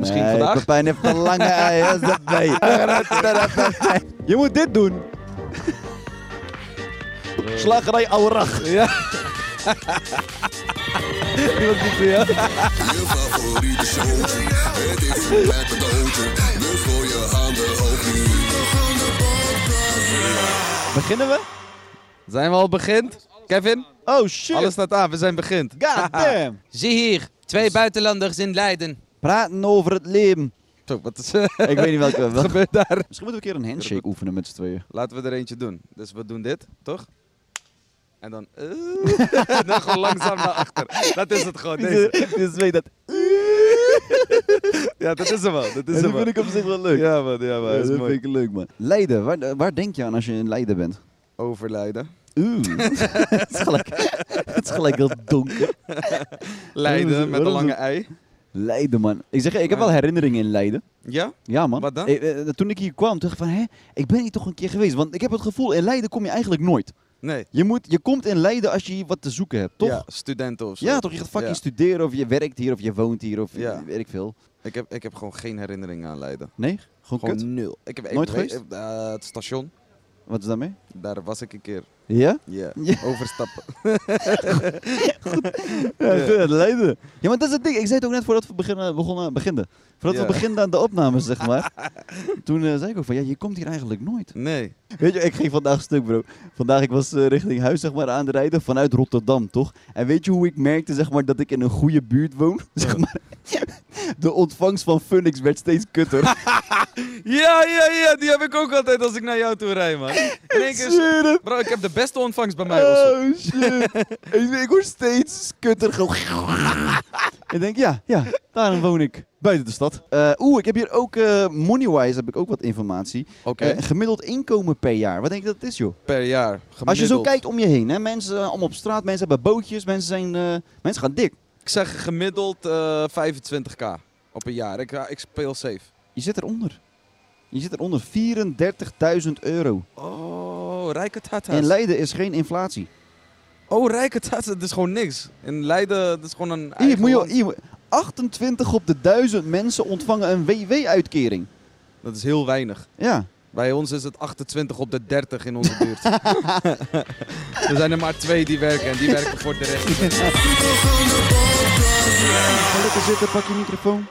Misschien Nee, vandaag. Pepijn heeft een lange ei. Dat is erbij. Je moet dit doen. Slagerij Aurach. Ja. Die was niet voor jou. Je favoriete showtje. Het is een klein cadeautje. Dus gooi je handen hoog nu. Beginnen we? Zijn we al begint? Kevin, Oh shit. alles staat aan. We zijn begint. God damn. Zie hier, twee buitenlanders in Leiden. Praten over het leven. Zo, wat is er Ik weet niet welke. wel- gebeurd daar? Misschien moeten we een keer een handshake oefenen met z'n tweeën. Laten we er eentje doen. Dus we doen dit, toch? En dan... en dan gewoon langzaam naar achter. Dat is het gewoon, deze. Dus weet dat. Ja, dat is hem wel. Dat is Dat hem wel. vind ik op zich wel leuk. Ja man, ja man. Ja, Dat is dat mooi. vind ik leuk, man. Leiden, waar, eh, waar denk je aan als je in Leiden bent? Overlijden. Oeh. het, is gelijk, het is gelijk heel donker. Waarom is- Leiden met een waarom is lange het- ei. Leiden, man. Ik zeg, je, ik heb Ja. wel herinneringen in Leiden. Ja? Ja, man. Wat dan? Eh, eh, toen ik hier kwam, dacht ik van, hè, ik ben hier toch een keer geweest. Want ik heb het gevoel, in Leiden kom je eigenlijk nooit. Nee. Je, moet, je komt in Leiden als je hier wat te zoeken hebt, toch? Ja, Ja, studenten of zo. toch? Je gaat fucking Ja. studeren of je werkt hier of je woont hier of Ja. weet ik veel. Ik heb, ik heb gewoon geen herinneringen aan Leiden. Nee? Gewoon, Gewoon kut? nul. Ik heb ik Nooit weet- geweest? eh, het station, Wat is daarmee? daar was ik een keer. Ja? Ja. Ja. Overstappen. Ja, Leiden. Ja, maar dat is het ding. Ik zei het ook net voordat we beginnen, begonnen, beginnen. Voordat Ja. we beginnen aan de opname, zeg maar. toen eh, zei ik ook van, ja, je komt hier eigenlijk nooit. Nee. Weet je, ik ging vandaag stuk, bro. Vandaag, ik was eh, richting huis, zeg maar, aan het rijden vanuit Rotterdam, toch? En weet je hoe ik merkte, zeg maar, dat ik in een goede buurt woon? Zeg maar, de ontvangst van Phoenix werd steeds kutter. Ja, ja, ja. Die heb ik ook altijd als ik naar jou toe rijd, man. In één keer... Shit, hè? Bro, ik heb de beste ontvangst bij mij. Osso. Oh, shit. ik, ik word steeds kutter. gewoon. ik denk, ja, ja, daarom woon ik. Buiten de stad. Eh, Oeh, ik heb hier ook, eh, moneywise heb ik ook wat informatie. Oké. Eh, gemiddeld inkomen per jaar. Wat denk je dat het is, joh? per jaar. Gemiddeld. Als je zo kijkt om je heen, hè, mensen eh, om op straat, mensen hebben bootjes, mensen, zijn, eh, mensen gaan dik. Ik zeg gemiddeld eh, 25k op een jaar. Ik, eh, ik speel safe. Je zit eronder. Je zit eronder. 34.000 euro. Oh, rijke tata's. In Leiden is geen inflatie. oh, rijke tata's. Het is gewoon niks. In Leiden, dat is gewoon een Hier, eigen moet je, land. hier moet- 28 op de 1000 mensen ontvangen een WW-uitkering. Dat is heel weinig. Ja. Bij ons is het 28 op de 30 in onze buurt. er zijn er maar twee die werken en die werken voor de rest. Ga lekker zitten, pak je microfoon.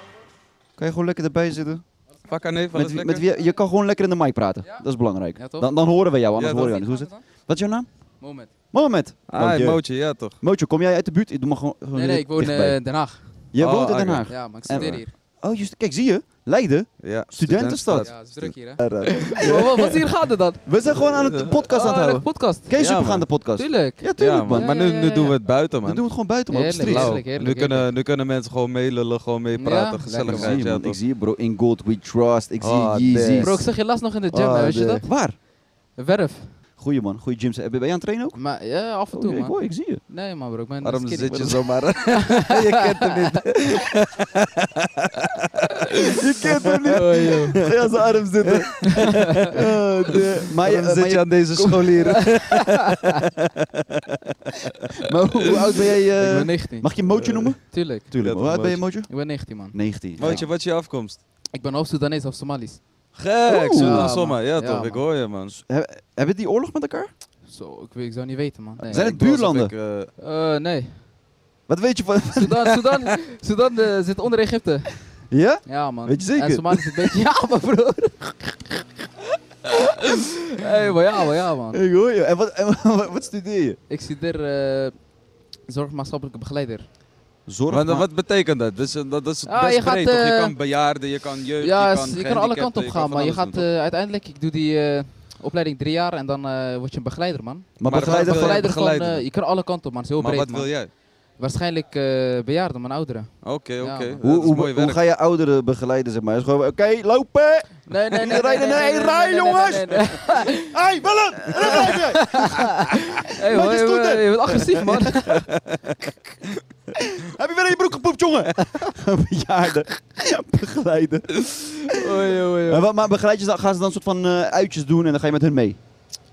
Kan je gewoon lekker erbij zitten? Vakka neef, Met, wie- met wie, je kan gewoon lekker in de mic praten. Dat is belangrijk. Ja, toch? dan, dan horen we jou, anders Ja, horen we toch? jou niet. Hoe is het? Wat is jouw naam? Moment. Mohamed. Ah, Mootje. Mootje, ja toch. Mootje, kom jij uit de buurt? Ik doe maar gewoon, gewoon Nee, nee, ik woon eh, in dichtbij. Den Haag. Jij Oh, woont in Den oké. Haag? Ja, maar ik En- studeer hier. Oh, just, kijk, zie je? Leiden? Ja, Studentenstad. Ja, het is druk hier, hè. Wow, wat, hier gaat het dan? Oh, We zijn gewoon aan het podcast aan het houden. podcast. Kees, Ja, we gaan man. de podcast. Tuurlijk. Ja, Ja, tuurlijk, man. man. Ja, Maar nu, ja, nu ja, doen ja. we het buiten, Dan man. doen we het gewoon buiten, man. Op de Heerlijk, street. Lauw. Heerlijk, heerlijk, nu, kunnen, nu kunnen mensen gewoon meelullen, gewoon meepraten. Ja, Ik gezelligheid, zie je, ja, man. Ik toch. zie je, bro. In God we trust. Ik zie Ah, je Yeezys. damn. Bro, ik zag je laatst nog in de gym, Ah, Oh, hè, weet je de- dat? Waar? Werf. Goeie, man. Goeie gyms. Eh, Ben jij aan het trainen ook? Maar, ja, af en Oh, toe, ik, man. hoor, ik zie je. Nee, man, bro. Ik ben Waarom skinny. zit je zomaar? je kent hem niet. Je kent hem niet. Oh, joh. Ga je aan zijn arm zitten. Oh, de- maar, je, Waarom eh, maar, zit je je, aan deze scholieren? maar hoe, hoe oud ben jij? eh, Ik ben 19. mag je Mootje noemen? Tuurlijk. Tuurlijk. Ja, hoe oud ben je, toch, Mootje? Ik ben 19, man. 19. Mootje, wat is je afkomst? Ik ben of Soedanees of Somalisch. Gek, Oeh. zo dan Ja, zomaar. Ja, man. Ja, toch, ik man. hoor je, man. He- Hebben die oorlog met elkaar? Zo, ik, weet, ik zou niet weten, man. Nee. Zijn het Ik doe alsof buurlanden? ik, eh, Eh, nee. Wat weet je van... Sudan, Sudan, Sudan eh, zit onder Egypte. Ja? Ja, man. Weet je zeker? En Somalië is een beetje... Ja, maar broer. hey, maar ja, maar ja, man. Ik hoor je. En wat, en wat, wat studeer je? Ik studeer eh zorgmaatschappelijke begeleider. Zorg. Maar dan wat betekent dat? Dus, eh, dat, dat is het Ah, best je gaat, breed, toch? Je eh, kan bejaarden, je kan jeugd, Ja, je s- kan je kan alle kanten op gaan, maar je gaat Maar, eh, uiteindelijk... Ik doe die eh, opleiding drie jaar en dan eh, word je een begeleider, man. maar Maar begeleider wat wil van... jij? begeleider van... begeleider? eh, je kan alle kanten op, man. Het is heel breed, wat man. wil jij? Waarschijnlijk eh bejaarden, man. Ouderen. Oké, Ja, oké. man. Dat Hoe, is hoe, mooi hoe werk. ga je ouderen begeleiden, zeg maar? Is gewoon, oké, lopen! Nee, nee, Jullie rijden- nee, rij, jongens! Hé, Willem! Rennen blijven! Hey, hoor, Met je, je scooter! je bent agressief, man. Heb je weer in je broek gepoept, jongen? Bejaarden. Begeleiden. Oei, oei, oei. Maar, wat- maar begeleid je, ze dan- gaan ze dan soort van eh, uitjes doen en dan ga je met hun mee?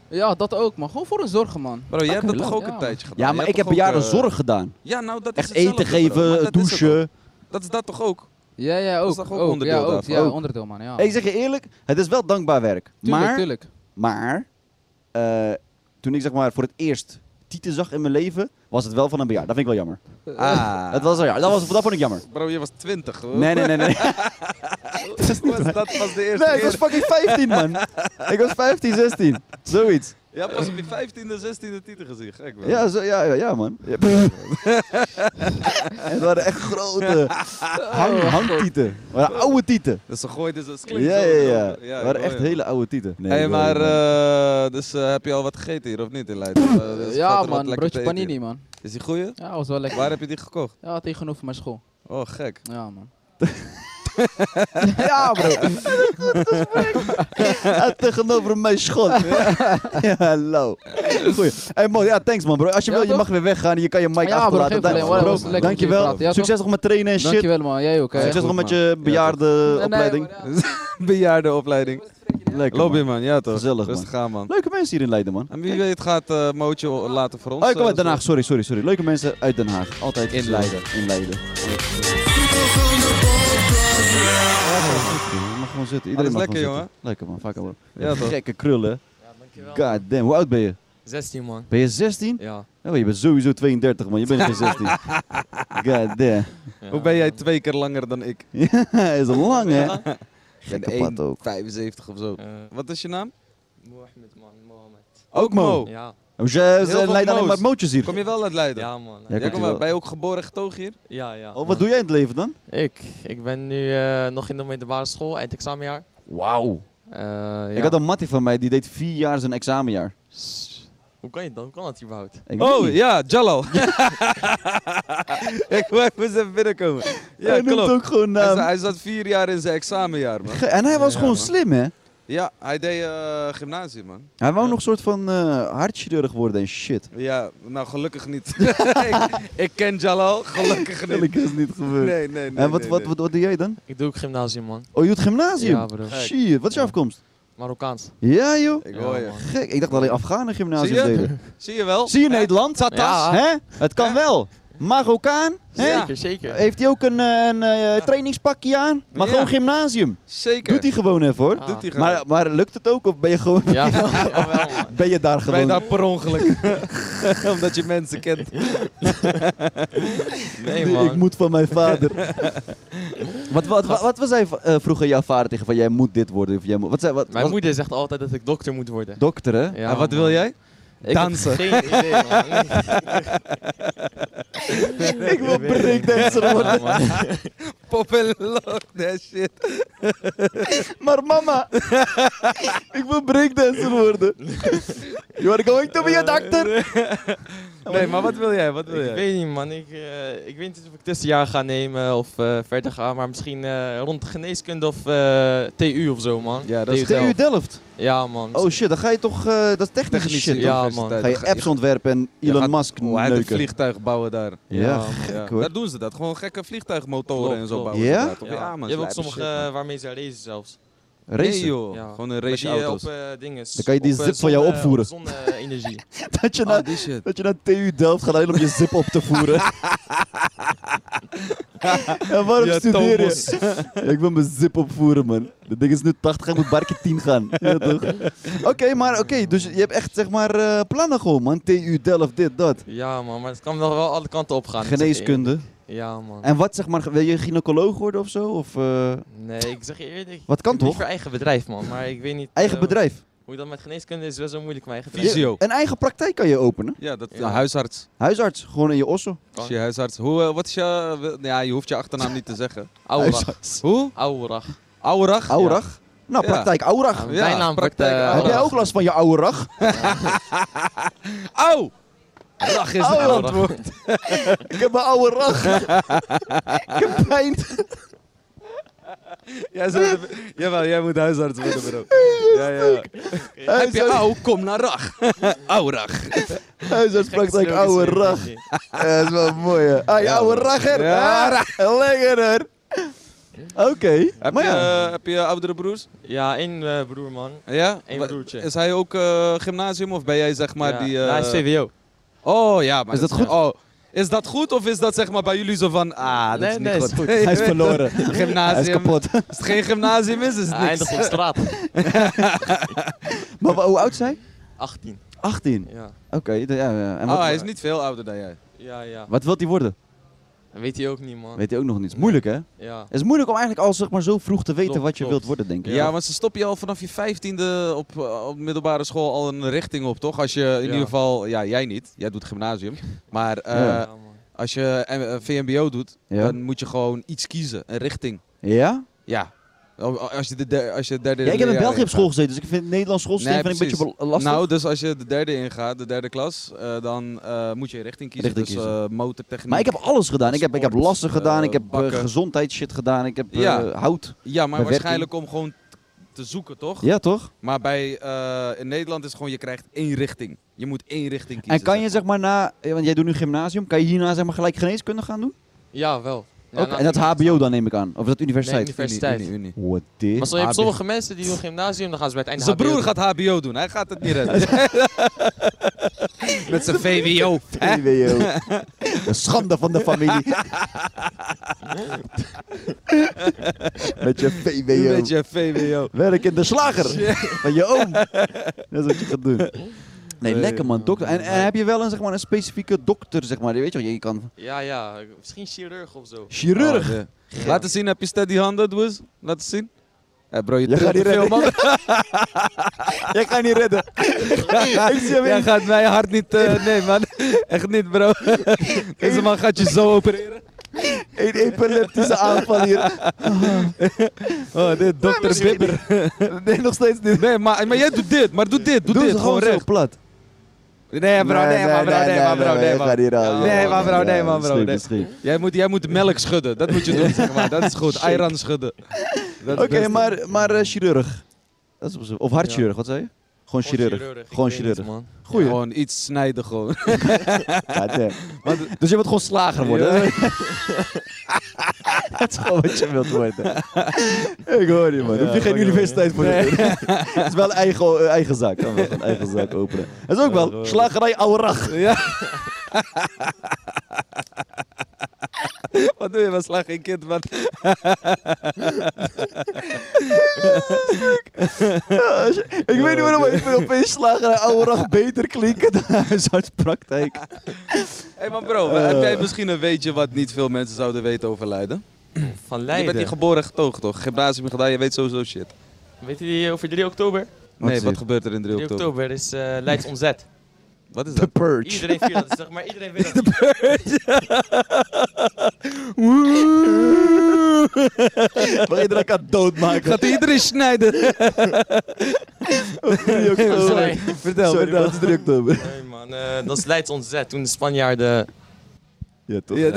Ja, dat ook, man. Gewoon voor een zorgen, man. Bro, jij hebt dat Lekker, toch ook man. Ja, een man. tijdje gedaan? Ja, Jij maar ik heb hebt toch ook, jaren eh, zorg gedaan. Ja, nou, dat is Echt hetzelfde, eten bro. Maar geven, dat is het ook. douchen. Dat is dat toch ook? Ja, ja, ook. is toch ook ook, onderdeel ja, ook, daarvan? Ja, Ook. onderdeel, man. Ja. Hey, Ik zeg je eerlijk, het is wel dankbaar werk. tuurlijk, maar tuurlijk. maar eh, toen ik zeg maar voor het eerst Tieten zag in mijn leven, was het wel van een bejaard. Dat vind ik wel jammer. Ah. Dat, was wel jammer. Dat, was, dat vond ik jammer. Bro, je was 20 hoor. Nee, nee, nee. nee. dat, was, dat was de eerste Nee, ik was keer. fucking 15, man. Ik was 15, 16. Zoiets. Je hebt pas op je 15e, 16e titel gezien. Gek wel. Ja, zo, ja, ja, ja, man. Ja. het waren echt grote hang, hangtieten. Het waren oude tieten. Dus ze gooiden ze slim. Ja, ja, zo ja. erover. Het ik waren hoor echt je. hele oude tieten. Nee, Hé, hey, ik hoor maar je, man. eh, dus eh, heb je al wat gegeten hier of niet in Leiden? Eh, dus valt er ja, wat man. lekker te Broodje eten panini, hier? man. Is die goeie? Ja, was wel lekker. Waar heb je die gekocht? Ja, tegenover mijn school. Oh, gek. Ja, man. Ja, bro. ja, tegenover mijn schot. ja, hallo. Goeie. Hey, man, ja, thanks man, bro. Als je Ja, wil, je toch? mag weer weggaan. Je kan je mic Ja, bro, achterlaten. geen probleem. Dank- Wauw, was bro, lekker om te dankjewel. praten. Ja, toch? Succes nog met trainen en shit. Dankjewel, man. Jij ook, hè. Succes goed, nog met man. je Nee, bejaardenopleiding. nee, maar ja. Bejaardenopleiding. Lekker, man. Lobby, man. Ja, toch? Gezellig, man. Rustig aan, man. Leuke mensen hier in Leiden, man. En wie weet gaat eh Mootje later voor ons. Oh, ik kom eh, uit Den Haag. zorgen. Sorry, sorry, sorry. Leuke mensen uit Den Haag. Altijd In Leiden. In Leiden. Ja, mag gewoon zitten. Iedereen mag Alles Ah, lekker, gewoon jongen. zitten. Lekker, man. Vaak al. Ja, toch? Gekke krullen. Dankjewel. God damn. Hoe oud ben je? 16 man. Ben je 16? Ja. Oh, je bent sowieso 32, man. Je bent geen 16. God damn. Hoe ben jij twee keer langer dan ik? Ja, is lang, hè? Ja. Gekke pad ook. 75 of zo. Eh, Wat is je naam? Mohammed man, Mohammed. Ook Mo. Ja. Oh, Ze veel ze leiden alleen mo's. maar mootjes hier. Kom je wel uit Leiden? Ja man. Ja, Ja, Jij komt komt ie wel. wel. Ben je ook geboren getogen hier? ja. ja. Oh, wat doe jij in het leven dan? Ik? Ik ben nu eh, nog in de middelbare school, eindexamenjaar. Wauw. Eh, ja. Ik had een mattie van mij, die deed vier jaar zijn examenjaar. Sss. Hoe kan je dat? Hoe kan dat überhaupt? Ik weet Oh niet. ja, Jallo. ik wou even binnenkomen. Ja, hij noemt klopt. ook gewoon Hij, naam. za- hij zat vier jaar in zijn examenjaar, man. Ge- En hij was Ja, gewoon man. slim, hè? Ja, hij deed eh gymnasium, man. Hij wou nog een soort van eh hartchirurg worden en shit. Ja, nou gelukkig niet. ik, ik ken Jalal, gelukkig niet. Eigenlijk is het niet gebeurd. Nee, nee, en nee. wat, nee, wat, nee. wat, wat doe jij dan? Ik doe ook gymnasium man. Oh, je doet gymnasium? Ja bro. Gek. Shit, wat is je Ja. afkomst? Marokkaans. Ja, joh. Ik hoor Ja, je. man. Gek, ik dacht dat alleen Afghanen Zie gymnasium je? deden. Zie je wel? Zie je Nederland? Tatas, Ja. hè? Het kan wel. Marokkaan, hè? Zeker, zeker. Heeft hij ook een, eh, een eh, trainingspakje aan? Maar Ja. gewoon gymnasium. Zeker. Doet hij gewoon even hoor. Ah. Doet hij gewoon. Maar, maar lukt het ook of ben je gewoon... Ja, jawel man. Ben je daar Ben gewoon? je daar per ongeluk? Omdat je mensen kent. Nee Nee, ik man. moet van mijn vader. wat, wat, wat, wat was hij v- eh, vroeger jouw vader tegen van jij moet dit worden? Of jij moet, wat zei, wat, Mijn wat- moeder zegt altijd dat ik dokter moet worden. Dokter hè? Ja, en Ah, wat man. wil jij? Ik Dansen. heb geen idee man. Ik wil breakdancer worden. Ja, man. Pop en lock, that shit. Maar mama, ik wil breakdancer worden. You are going to be a doctor. Nee, maar wat wil jij? Wat wil Ik jij? weet niet, man. Ik, eh, ik weet niet of ik tussenjaar ga nemen of eh, verder ga, maar misschien eh, rond geneeskunde of eh, TU of zo, man. Ja, dat is TU TU Delft. Delft. Ja, man. Oh shit, dan ga je toch, eh, dat is technische Technische shit. Ja, universiteit. man. Ga je apps ontwerpen en Je Elon gaat- Musk Oh, hij heeft een neuken. vliegtuig bouwen daar. Ja, man. Ja, hoor. Daar doen ze dat. Gewoon gekke vliegtuigmotoren Klopt, en zo klopt. bouwen. Ja? ze daar, toch? Ja, Ja, man. je hebt ook lijpe sommige shit, man. eh, waarmee ze racen zelfs. Nee, Racen. joh. Ja. Gewoon een Met die, eh, raceauto's. Op eh, dinges. Dan kan je die Op, eh, zip van jou zonne- opvoeren. op Zonne-energie. Dat je, Oh, naar, die shit. dat je naar TU Delft gaat alleen om je zip op te voeren. en waarom Ja, studeer Thomas. je? Ja, ik wil mijn zip opvoeren, man. Dat ding is nu 80, ik moet barkje 10 gaan. Ja, toch? Oké, maar oké, dus je hebt echt zeg maar eh, plannen gewoon, man. TU Delft, dit, dat. ja, man. Maar het kan wel, wel alle kanten op gaan. Geneeskunde. Ja, Ja, man. En wat zeg maar, wil je gynaecoloog worden of zo? Of, eh, Nee, ik zeg je eerlijk. Wat kan ik heb toch? liever eigen bedrijf, man. Maar ik weet niet... eigen eh, bedrijf. Hoe dat met geneeskunde is wel zo moeilijk, mijn eigen bedrijf. Fysio. Een eigen praktijk kan je openen. Ja, dat, Ja. huisarts. Huisarts, gewoon in je osso. Is je huisarts. Hoe, eh, wat is je... eh, Ja, je hoeft je achternaam niet te zeggen. Aurach. Huisarts. Hoe? Aurach. Aurach? Ouderag. Nou, Ja. praktijk Ouderag. Ja, Mijn naam wordt... praktijk eh, Heb jij Aurach. ook last van je ouderag? Au! Lach is Au, Aurach. Ik heb mijn oude rag. ik heb pijn. Jij zou de- Jawel, jij moet huisarts worden, bro. Ja, ja. Heb je oh. Huisarts- au, kom naar Rach. Aurach. Huisartspraktijk Gek oude slogan, rag. zeg je. Ja, dat is wel mooi, hè. Ah, je Ja, oude man. ragger. Ja. Ah, lekker, hoor. Oké. Heb, Maar je, ja. eh, heb je oudere broers? Ja, één eh, broer, man. Ja? Eén Wa- broertje. Is hij ook eh, gymnasium of ben jij zeg maar Ja, die... nou, hij eh, is VWO. Oh ja, maar Is dat goed? Oh, is dat goed of is dat zeg maar bij jullie zo van... Ah, dat Nee, is niet nee, is goed. goed. Hij is verloren. Gymnasium. Hij is kapot. Als het geen gymnasium is, is het Hij niks. eindigt op straat. maar wa- hoe oud is hij? 18. 18. Ja. Oké. d- ja, ja. En wat, Oh, hij is niet veel ouder dan jij. Ja, ja. wat wil hij worden? Dat weet hij ook niet, man. Weet hij ook nog niet. Is Moeilijk, hè? Ja. Het is moeilijk om eigenlijk al zeg maar, zo vroeg te weten Klopt, wat je klopt. wilt worden, denk ik. Ja, want ze stoppen je al vanaf je vijftiende op, eh, op middelbare school al een richting op, toch? Als je in ieder geval, ja, jij niet, jij doet gymnasium. Maar eh, Ja. Ja, man. als je eh, VMBO doet, Ja? dan moet je gewoon iets kiezen, een richting. Ja? Ja. Als je de, der- als je de derde. Ja, ik heb in leerjaar België op ingaat. school gezeten, dus ik vind het Nederlands schoolsysteem Nee, vind ik een beetje precies. bel- lastig. Nou, dus als je de derde ingaat, de derde klas, eh, dan eh, moet je een richting kiezen. Richting dus kiezen. eh, motortechniek. maar ik heb alles gedaan. Ik heb, ik heb sport, lassen gedaan, eh, ik heb eh, bakken. gezondheidsshit gedaan, ik heb eh, Ja. hout. ja, maar bewerking. waarschijnlijk om gewoon t- te zoeken, toch? Ja, toch? Maar bij, eh, in Nederland is het gewoon, je krijgt één richting. Je moet één richting kiezen. En kan zeg je zeg maar na, eh, want jij doet nu gymnasium, kan je hierna zeg maar gelijk geneeskunde gaan doen? Ja, wel. Ja, Ook? nou, en dat HBO dan neem ik aan, of dat universiteit? Nee, universiteit. Unie, unie, unie. What the- Maar zo, je hebt HBO. sommige mensen die doen gymnasium, dan gaan ze bij het einde Zijn HBO broer doen. gaat HBO doen, hij gaat het niet redden. Met zijn VWO. VWO. De schande van de familie. Met je VWO. Met je VWO. Werk in de slager van je oom. Dat is wat je gaat doen. Nee, lekker man, dokter. En, en heb je wel een, zeg maar, een specifieke dokter, zeg maar? Je weet je, wel, je kan Ja, ja. Misschien chirurg of zo. chirurg. Oh, de- Laat eens zien, heb je steady handen, doe eens. Laat eens zien. Eh bro, je, Je trilt gaat te niet veel, redden. man. Jij gaat niet redden. ik zie hem Jij in. gaat mijn hart niet... eh, nee, man. Echt niet, bro. Deze man gaat je zo opereren. Een epileptische aanval hier. Oh, dit dokter Bibber. Nee, nog steeds niet. Nee, maar, maar jij doet dit. Maar doe dit. Doe, Doe dit. ze gewoon Gewoon zo recht. plat. Nee, bro. Nee, man, bro. Nee, man, bro. Nee, jij man. gaat hier al. Nee, maar bro, nee, maar bro, Misschien, nee. misschien. Jij moet, jij moet melk schudden. Dat moet je doen, zeg maar. Dat is goed. Eiran schudden. Dat Oké, is best. maar, maar eh, chirurg. Dat is op zich- of hartchirurg, wat zei je? Gewoon chirurg. Ik Gewoon weet niet, chirurg. man. Goeie. Gewoon iets snijden gewoon. Ja, damn. dus je wilt gewoon slager worden? Dat is gewoon wat je wilt worden. Ik hoor je, man. Hoef je geen universiteit voor te doen. Het is wel een eigen, eh, eigen zaak. Kan wel een eigen zaak openen. Dat is ook wel slagerij oude rag. Wat doe je? Wat slag geen kind, man? Ik weet niet waarom maar ik vind opeens slagerij oude rag beter klinken dan huisartspraktijk. Hé, maar bro. Eh. Heb jij misschien een weetje wat niet veel mensen zouden weten over Leiden? Van Je bent Leiden. hier geboren en getogen, toch? Gymnasium gedaan, je weet sowieso shit. Weet je die over 3 oktober? 3 Wat Nee, is wat dit? gebeurt er in 3 oktober? oktober is eh Leids ontzet. Wat is The dat? Purge. Iedereen viert dat, zeg maar. Iedereen weet dat. Waar iedereen kan doodmaken. Gaat iedereen snijden? 3 oktober. Sorry. Vertel, Sorry, vertel. dat is 3 oktober. Nee, man. eh, dat is Leids ontzet. Toen de Spanjaarden... Ja, toch? Ja,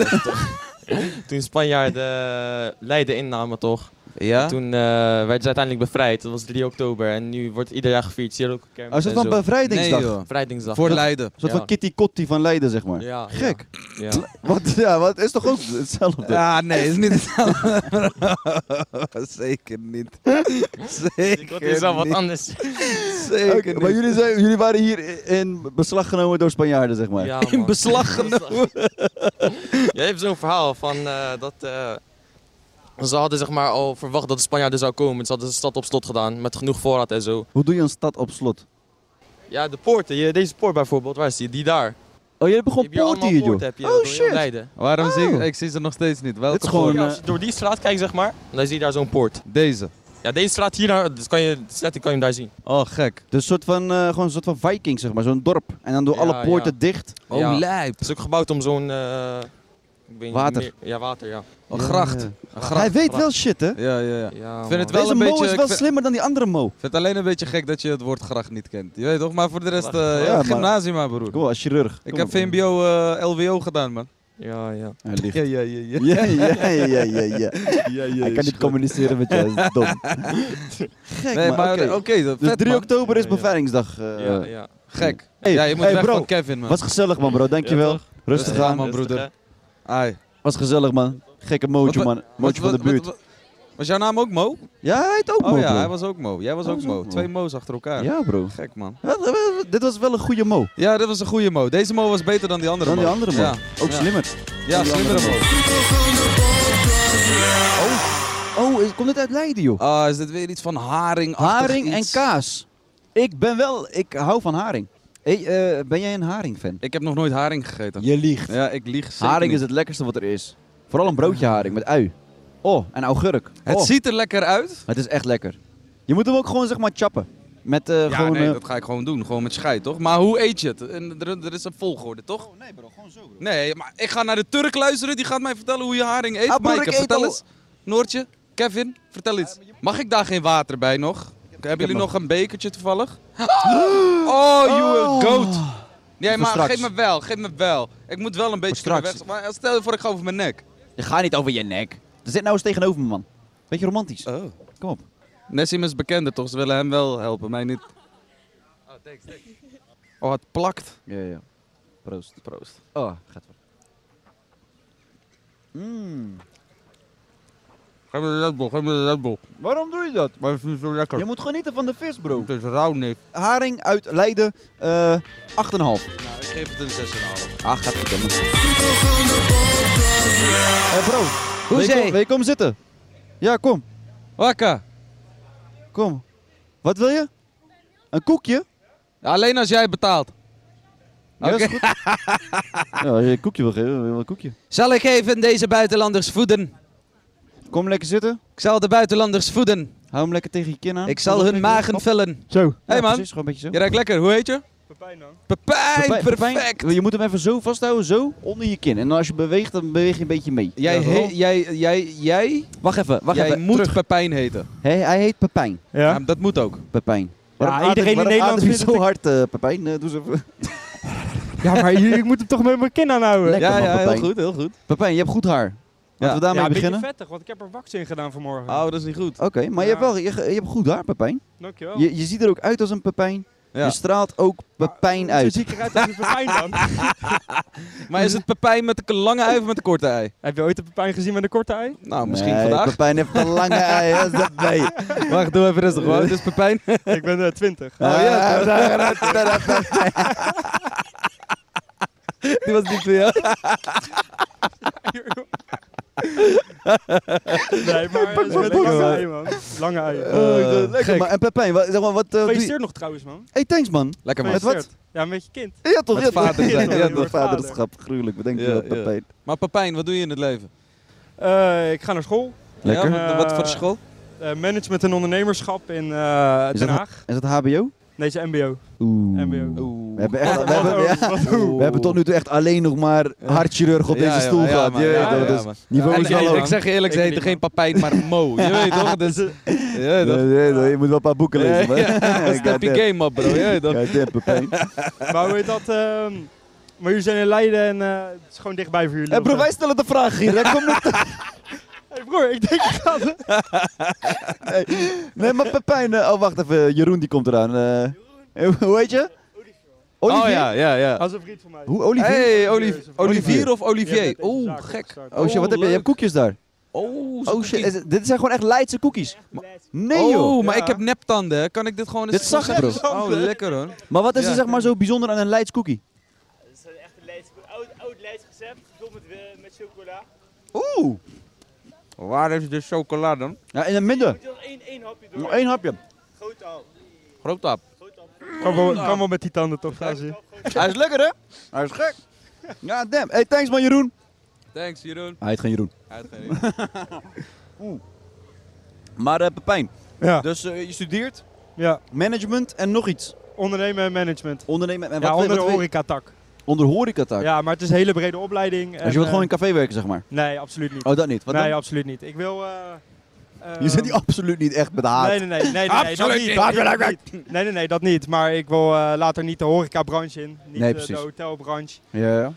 Toen de Spanjaarden eh, Leiden innamen, toch? Ja? Toen eh, werden ze uiteindelijk bevrijd. Dat was 3 oktober. En nu wordt ieder jaar gevierd. Zie je ook kermis Oh, is dat en van zo. bevrijdingsdag? Nee, joh. een Bevrijdingsdag. Voor Ja. Leiden. soort Ja. van Kitty Kotti van Leiden, zeg maar. Ja. Gek. Ja. ja. Wat, ja, wat is toch ook hetzelfde? Ah, nee, is niet hetzelfde. Zeker niet. Zeker Dus Dat is wel wat niet. anders. Oké, Zeker maar niet. jullie, zijn, jullie waren hier in beslag genomen door Spanjaarden, zeg maar. Ja, In man. beslag genomen. Jij hebt zo'n verhaal van eh, dat. eh, ze hadden zeg maar al verwacht dat de Spanjaarden zou komen. Dus ze hadden de stad op slot gedaan met genoeg voorraad en zo. Hoe doe je een stad op slot? Ja, de poorten. je- deze poort bijvoorbeeld, waar is die? Die daar. Oh, jullie hebben Je hebt hier gewoon poorten allemaal hier, joh. poorten, heb je, Oh, door heel shit. Leiden. Waarom zie ik, Oh. ik zie ze nog steeds niet. Welke Dit is gewoon... poort? Ja, eh, als je door die straat kijkt, zeg maar, dan zie je daar zo'n poort. Deze. Ja, deze straat hier, nou, dus kan je, dus letterlijk kan je hem daar zien. Oh, gek. dus een soort van, eh, gewoon een soort van viking, zeg maar. Zo'n dorp. En dan door Ja, alle poorten ja. dicht. Oh, Ja. lijp. Het is ook gebouwd om zo'n... eh, ik weet niet Water. meer- ja, water, ja. Een Ja, Oh, gracht. ja. Een gracht. Hij weet wel shit, hè? Ja, ja, ja. ja Ik man. vind het wel Deze een Mo beetje... is ik wel vind- slimmer dan die andere Mo. Ik vind het alleen een beetje gek dat je het woord gracht niet kent. Je weet toch? Maar voor de rest, Wacht, eh, wacht. ja, Ja, gymnasium maar broer. Kom op, als chirurg. Ik Kom heb op. VMBO, eh, LWO gedaan man. Ja, ja. Hij ligt. ja, ja. Ja, ja, ja, ja, ja. Hij kan niet communiceren met jou, dat is dom. Gek, Nee, maar, maar oké. oké, dat Dus vet, 3 man. oktober is Ja, ja. beveiligingsdag. eh, ja, ja. Gek. Hey, ja, je moet hey, weg bro. van Kevin man. Was gezellig, man, bro. Dankjewel. Ja, toch? Rustig Rustig aan, aan, man, broeder. Rustig, Ai. Was gezellig, man. Gekke mootje, Wat- man. Mootje van de Wat- wat- buurt. wat- Was jouw naam ook Mo? Ja, hij heet ook Oh Mo, ja, bro. hij was ook Mo. Jij was Hij ook was ook Mo. Mo. Twee Mo's achter elkaar. Ja, bro. Gek man. Wat- wat- wat- Dit was wel een goede Mo. Ja, dit was een goede Mo. Deze Mo was beter dan die andere Dan Mo. die andere Mo. Ja, Ook ja. slimmer. Ja, Die slimmere andere Mo. Oh, is- komt dit uit Leiden, joh? Ah, is dit weer iets van haring? Haring en kaas. Ik ben wel... Ik hou van haring. Hey, eh, ben jij een haringfan? Ik heb nog nooit haring gegeten. Je liegt. Ja, ik lieg zeker Haring niet. is het lekkerste wat er is. Vooral een broodje haring met ui. Oh, en augurk. Het Oh, ziet er lekker uit. het is echt lekker. Je moet hem ook gewoon zeg maar chappen. Met eh, Ja, gewoon... nee, eh, dat ga ik gewoon doen. Gewoon met scheid, toch? Maar hoe eet je het? En er, er is een volgorde, toch? Oh, nee, bro. Gewoon zo, Nee, maar ik ga naar de Turk luisteren. Die gaat mij vertellen hoe je haring eet. Ah, broer, Maaike, ik eet vertel al- eens. Noortje, Kevin, vertel iets. Mag ik daar geen water bij nog? Hebben jullie nog een bekertje toevallig? Oh, you Oh. a goat. Nee, Voor maar straks. geef me wel, geef me wel. Ik moet wel een beetje Voor straks. kunnen weg. Maar stel je voor, ik ga over mijn nek. Je gaat niet over je nek. Er zit nou eens tegenover me, man. Beetje romantisch. Oh. Kom op. Nessim is bekender, toch? Ze willen hem wel helpen, mij niet. Oh, thanks, thanks. Oh, het plakt. Ja, ja. Proost. Proost. Oh, gaat wel. Mm. Geef me de Red Bull, geef me de Red Bull. Waarom doe je dat? Maar het is niet zo lekker. Je moet genieten van de vis, bro. Het is rauw niks. Haring uit Leiden, eh 8,5. Nou, ik geef het een 6,5. Ah, gaat goed, dan. Eh, Hé, bro. Hoe is hij? Wil je komen zitten? Ja, kom. Wakka. Kom. Wat wil je? Een koekje? Alleen als jij betaalt. Ja, is Oké. goed. ja, als je een koekje wil geven, wil je wel een koekje. Zal ik even deze buitenlanders voeden? Kom lekker zitten. Ik zal de buitenlanders voeden. Hou hem lekker tegen je kin aan. Ik zal hun magen vullen. Zo. Hey, man. Precies, gewoon een beetje zo. Je ruikt lekker, hoe heet je? Pepijn Pepijn, Pepijn, Pepijn, perfect. Je moet hem even zo vasthouden, zo, onder je kin. En als je beweegt, dan beweeg je een beetje mee. Jij, Ja, he- Ron. jij, jij, jij, Wacht even, wacht jij even. moet Terug. Pepijn heten. Hij, hij heet Pepijn. Ja. dat moet ook. Pepijn. Waarom iedereen adem- waarom in Nederland adem je vindt zo het een- hard, eh, Pepijn? Eh, doe eens even. Ja, maar je- ik moet hem toch met mijn kin aanhouden. Lekker ja, man, ja, heel Pepijn. goed, heel goed. Pepijn, je hebt goed haar. Laten Ja. we daarmee ja, een beginnen. beetje vettig, want ik heb er wax in gedaan vanmorgen. Oh, dat is niet goed. Oké, maar je, hebt Ja. wel, je, ge- je hebt goed haar, Pepijn. Dankjewel. Je, je ziet er ook uit als een Pepijn. Oh. Ja. Je straalt ook Pepijn Zo uit. zie ik eruit als een pepijn dan. Maar is het Pepijn met een lange ei of met een korte ei? heb je ooit een pepijn gezien met een korte ei? Nou, misschien Nee, vandaag. Pepijn heeft een lange ei. Wat is dat bij? Wacht, doe even Eh, rustig. Dus- Hoe oud is Pepijn? ik ben eh, 20. Ah, daar- daar- daar- eh. Die was niet voor jou. nee, maar eh, ze met een lange ei, man. Lange ei. Oh, Eh, Lekker, maar, en Pepijn, wat, zeg maar, wat eh, doe je- Gefeliciteerd nog trouwens, man. Hey, thanks man. Lekker man. Met wat? Gefeliciteerd. Ja, met je kind. Ja toch, Met ja, toch. vader zijn, Ja, ja, toch, wordt vader. vaderschap, gruwelijk. Bedenk je Ja, wel, ja. Pepijn. Maar Pepijn, wat doe je in het leven? Eh, ik ga naar school. Lekker. Ja, wat- wat voor school? Eh, management en ondernemerschap in eh, Is Den dat- Haag. Is dat HBO? Nee, is MBO. Oeh. MBO. We hebben, echt, we, hebben, Wat ja, ook, wat ook. we hebben tot nu toe echt alleen nog maar hartchirurg op deze stoel gehad. Je weet ja, toch, ja, dus niveau En, is al en, hoog. ik zeg je eerlijk, ze Ik heten niet, geen Pepijn, maar Mo. Je weet toch? Dus, je weet Ja, toch? ja, ja, Je moet wel een paar boeken lezen. man. Ja, Step je Goddamn. game op, bro. Je weet toch? Goddamn, Pepijn. maar hoe heet dat? ehm, maar jullie zijn in Leiden en eh, het is gewoon dichtbij voor jullie. Hey, of, bro, eh? wij stellen de vraag hier. hè. Kom niet- Hey, broer, ik denk ik ga... Nee, maar Pepijn... eh, Oh, wacht even. Jeroen die komt eraan. eh. Hoe heet je? Olivier. Oh ja, ja, ja. Als een vriend van mij. Hoe, Olivier? Hey, Olivier, Olivier of Ja, Olivier? met deze Oeh, zaken gek. gestart. Oh shit, wat heb je? Je hebt koekjes daar. Oh, Oh shit, is het- dit zijn gewoon echt Leidse cookies. Nee joh. Oh, maar Ja. ik heb neptanden. hè. Kan ik dit gewoon eens... Dit zag ik, bro. Oh, lekker hoor. Maar wat is Ja. er zeg maar zo bijzonder aan een Leids cookie? Het is echt een Leids, oud, oud Leids recept, gevuld met, eh, met chocola. Oeh. Waar is de chocola dan? Ja, in het midden. Moet je nog één, één hapje door? Nog één hapje. Grote hap. Groot tap. Kan wel, kan wel met die tanden toch gaan zien. Hij is lekker hè? Hij is gek. Ja, damn. Hey, thanks man Jeroen. Thanks, Jeroen. Hij heet geen Jeroen. Hij had geen idee. Maar eh, Pepijn, Ja. dus eh, je studeert ja. management en nog iets. Ondernemen en management. Ondernemen en Ja, wat, onder de wat- horecatak. onder horecataak. Ja, maar het is een hele brede opleiding. en, dus je wilt eh, gewoon in een café werken, zeg maar. Nee, absoluut niet. Oh, dat niet. Wat nee, dan? absoluut niet. Ik wil... eh, Je zit ehm, die absoluut niet echt met haat. Nee, nee, nee. nee, nee, nee dat Absoluut niet. niet. dat niet. Nee, nee, nee, dat niet. Maar ik wil eh, later niet de horecabranche in. Niet Nee, eh, de precies. hotelbranche. Ja, ja.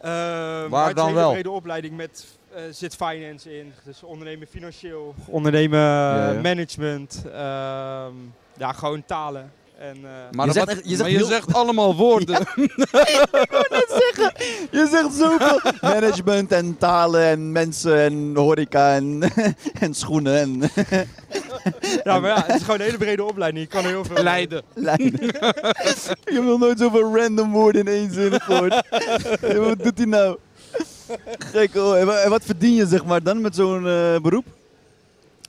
Eh, maar Waar het is dan een hele wel? brede opleiding met... eh, zit finance in. Dus ondernemen financieel. Ondernemen eh, ja. management. ehm, ja, gewoon talen. En, eh, Maar Je je, zegt zegt, echt- je zegt maar je heel- zegt allemaal woorden. Je zegt zoveel. Management en talen en mensen en horeca en, en schoenen en ja, maar ja, het is gewoon een hele brede opleiding. Je kan er heel veel... Leiden. lijnen. Ik heb nog nooit zoveel random woorden in één zin gehoord. Ja, wat doet hij nou? Gek hoor. En wa- en wat verdien je zeg maar dan met zo'n eh, beroep?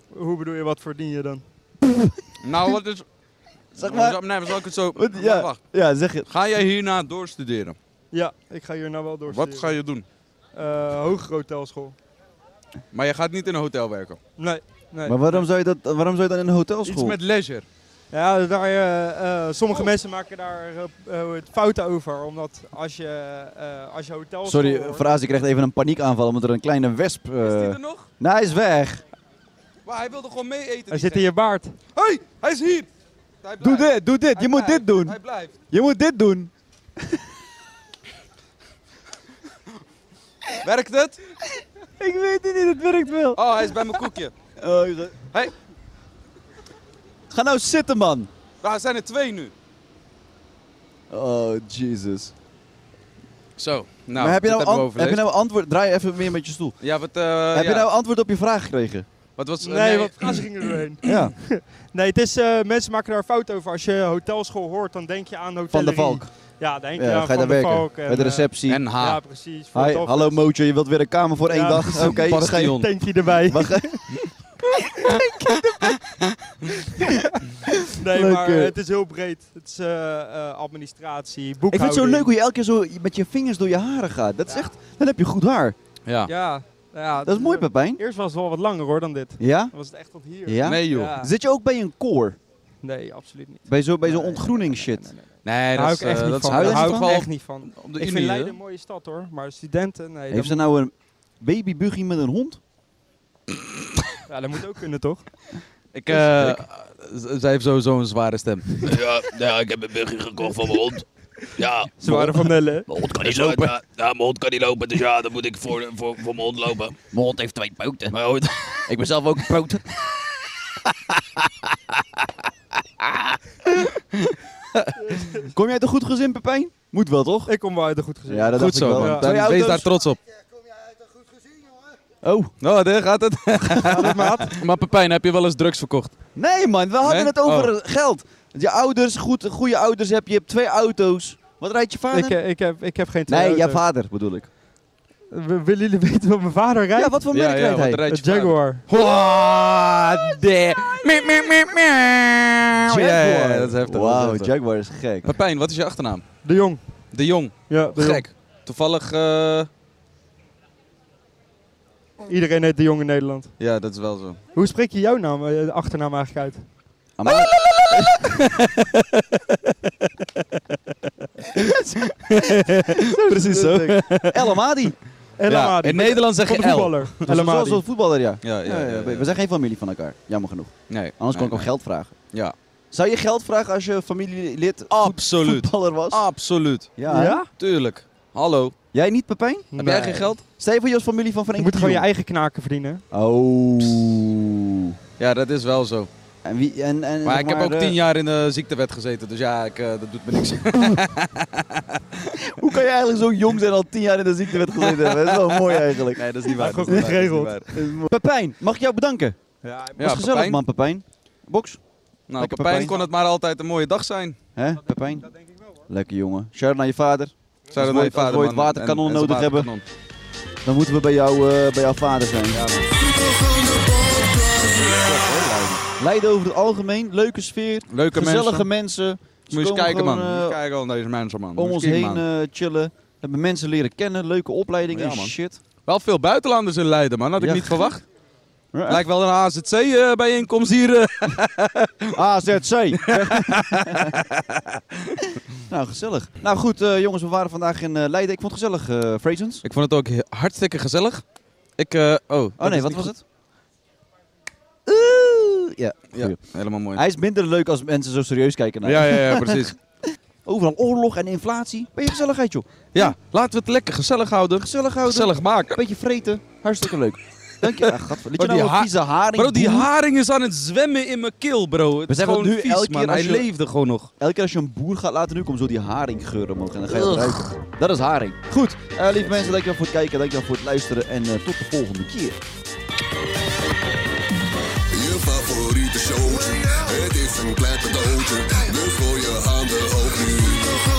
Hoe bedoel je, wat verdien je dan? nou, wat is... Zeg maar. Zal- Nee, maar zal ik het zo... Wat, ja, Wacht. ja, zeg het. Ga jij hierna doorstuderen? Ja, ik ga hier nou wel door. Wat ga je doen? hoger hotelschool. Maar je gaat niet in een hotel werken. Nee, nee. Maar waarom zou je, dat, waarom zou je dan in een Iets hotelschool? met leisure. Ja, daar, eh, eh, sommige mensen maken daar eh, eh, het fouten over, omdat als je, eh als je hotel Sorry, Fraas, ik krijg even een paniekaanval omdat er een kleine wesp... eh, Is die er nog? Nou, hij is weg. Maar hij wilde gewoon mee eten. Hij zit in je baard. Hé, hey, hij is hier! Hij Doe blijft. dit, doe dit. Hij Je moet blijft. dit doen. Hij blijft. Je moet dit doen. Werkt het? Ik weet het niet, het werkt wel. Oh, hij is bij mijn koekje. Oh, je- Hey. Ga nou zitten, man. Nou, er zijn er twee nu. Oh, Jesus. Zo, nou, maar heb je, nou dit hebben we an- heb je overleefd. nou antwoord... Draai even meer met je stoel. Ja, wat, eh, heb ja. je nou antwoord op je vraag gekregen? Wat was... Nee, nee, want Fraas ging er doorheen. Ja. Nee, het is, eh, mensen maken daar fouten over. Als je hotelschool hoort, dan denk je aan Van hotellerie. de Valk. Ja, denk je Ja, aan ga je daar Van de werken. Valk. Bij de eh, receptie. En H. ja, precies. Hi, Voor hallo Mojo, je wilt weer een kamer voor één Ja, dag. Oké, okay, bastion. Tankje erbij. Nee, Leuk, maar eh. eh, het is heel breed. Het is eh, eh, administratie, Ik vind boekhouding. het zo leuk hoe je elke keer zo met je vingers door je haren gaat. Dat is echt... Dan heb je goed haar. Ja. Ja, nou ja eh, Dat is mooi, Pepijn. Eerst was het wel wat langer hoor dan dit. Ja? Dan was het echt tot hier. Ja? Nee, joh. Ja. Zit je ook bij een koor? Nee, absoluut niet. Bij zo'n bij zo'n Nee, ontgroening shit? Nee, dat Daar hou is... ik echt eh, niet dat is van. Daar Hou je hou niet ik geval echt niet van. op de Unie, Ik vind hè? Leiden een mooie stad hoor, maar studenten, nee. Heeft ze dat, nou een babybuggy met een hond? moet- ja, dat moet ook kunnen toch? Ik, eh, z- zij heeft sowieso een zware stem. Ja, nou ja, ik heb een buggy gekocht van mijn hond. Ja, Ze waren van Nelle. mijn hond kan niet lopen. Ja, ja, mijn hond kan niet lopen, dus ja, dan moet ik voor, voor, voor mijn hond lopen. oh, Mijn hond heeft twee poten. Mijn hond... Ik ben zelf ook een poot. Kom jij uit een goed gezin, Pepijn? Moet wel, toch? Ik kom wel uit een goed gezin. Ja, dat Goed dacht ik zo, wel. man. Twee Dan Wees auto's. daar trots op. Oh, Oh, daar gaat het. maat. Maar Pepijn, heb je wel eens drugs verkocht? nee man, we hadden Nee? het over geld. Je ouders, goed, goede ouders heb je, je hebt twee auto's. Wat rijdt je vader? Ik, eh, ik, heb, ik heb geen twee nee, je auto's. vader bedoel ik. W- Willen jullie weten wat mijn vader rijdt? Ja, wat voor merk rijdt hij? Een Jaguar. What the... Meep, meep, meep, meep. Ja, ja, ja, dat is heftig. dat is Nou, Wauw, heftig. Jaguar is gek. Pepijn, wat is je achternaam? De Jong. De Jong. Ja, de Gek. Toevallig... eh, Oh. Jong. Iedereen heet De Jong in Nederland. Ja, dat is wel zo. Hoe spreek je jouw naam, eh, je achternaam eigenlijk uit? Amai. Precies zo. El Amadi. El Ja, Amadi. in Nederland zeg Van je de L. voetballer. El Zoals- Amadi. Zoals een voetballer, ja. Ja, ja, ja, ja. We zijn geen familie van elkaar, jammer genoeg. Nee. Anders kon nee, ik ook nee. geld vragen. Ja. Zou je geld vragen als je familielid voet- Absoluut. voetballer was? Absoluut. Ja. hè? Ja? Tuurlijk. Hallo. Jij niet, Pepijn? Heb jij geen geld? Stel je voor je als familie van Van Je Enkele moet gewoon Jong. je eigen knaken verdienen. Oh. Ja, dat is wel zo. En wie, en, en, Maar zeg ik heb ook eh, tien jaar in de ziektewet gezeten, dus ja, ik, eh, dat doet me niks. Hoe kan je eigenlijk zo jong zijn al tien jaar in de ziektewet gezeten hebben? Dat is wel mooi eigenlijk. Nee, dat is niet waar. Goed dat is niet waar, dat is niet geregeld. waar. Pepijn, mag ik jou bedanken? Ja, Was gezellig Pepijn. man, Pepijn. Box. Nou, Lekker Pepijn Pepijn. kon het maar altijd een mooie dag zijn. Hè, Pepijn? Dat denk ik wel hoor. Lekker jongen. Shout naar je vader. Zou dat mooi- mijn vader als we ooit man, waterkanonnen en- en zijn nodig hebben. waterkanon. Dan moeten we bij, jou, eh, bij jouw vader zijn. Ja, Leiden over het algemeen, leuke sfeer, Leuke gezellige mensen. mensen. Ze Moet je eens komen kijken, man. gewoon, Moet eh, je eens kijken al deze mensen, man. Moet om je ons eens heen kijken, man. eh, chillen. Hebben mensen leren kennen, leuke opleidingen Ja, en man. shit. Wel veel buitenlanders in Leiden, man. Had ik Ja. niet verwacht. Ja, Lijkt wel een AZC-bijeenkomst hier. eh. AZC. nou, gezellig. Nou goed, eh, jongens, we waren vandaag in eh, Leiden. Ik vond het gezellig, eh Frazens. Ik vond het ook he- hartstikke gezellig. Ik, eh, oh. Oh dat nee, is wat niet was goed. het? Oeh, ja. Ja, helemaal mooi. Hij is minder leuk als mensen zo serieus kijken naar Ja, hem. ja, ja, precies. Overal oorlog en inflatie. Beetje gezelligheid, joh. Ja, laten we het lekker gezellig houden. Gezellig houden. Gezellig maken. Beetje vreten. Hartstikke leuk. Dank je. Ah, gadver. Liet je Maar die nou een ha- vieze haring Bro, die boem? haring is aan het zwemmen in mijn keel, bro. Het We is zeggen gewoon nu vies, elke man. keer als Hij je- leefde gewoon nog. Elke keer als je een boer gaat laten nu, komt zo die haringgeur omhoog en dan ga je dat ruiken. Dat is haring. Goed, eh, lieve mensen, dankjewel voor het kijken, dankjewel voor het luisteren en eh, tot de volgende keer. Je favoriete showtje. Het is een klein cadeautje. Dus gooi je handen hoog nu.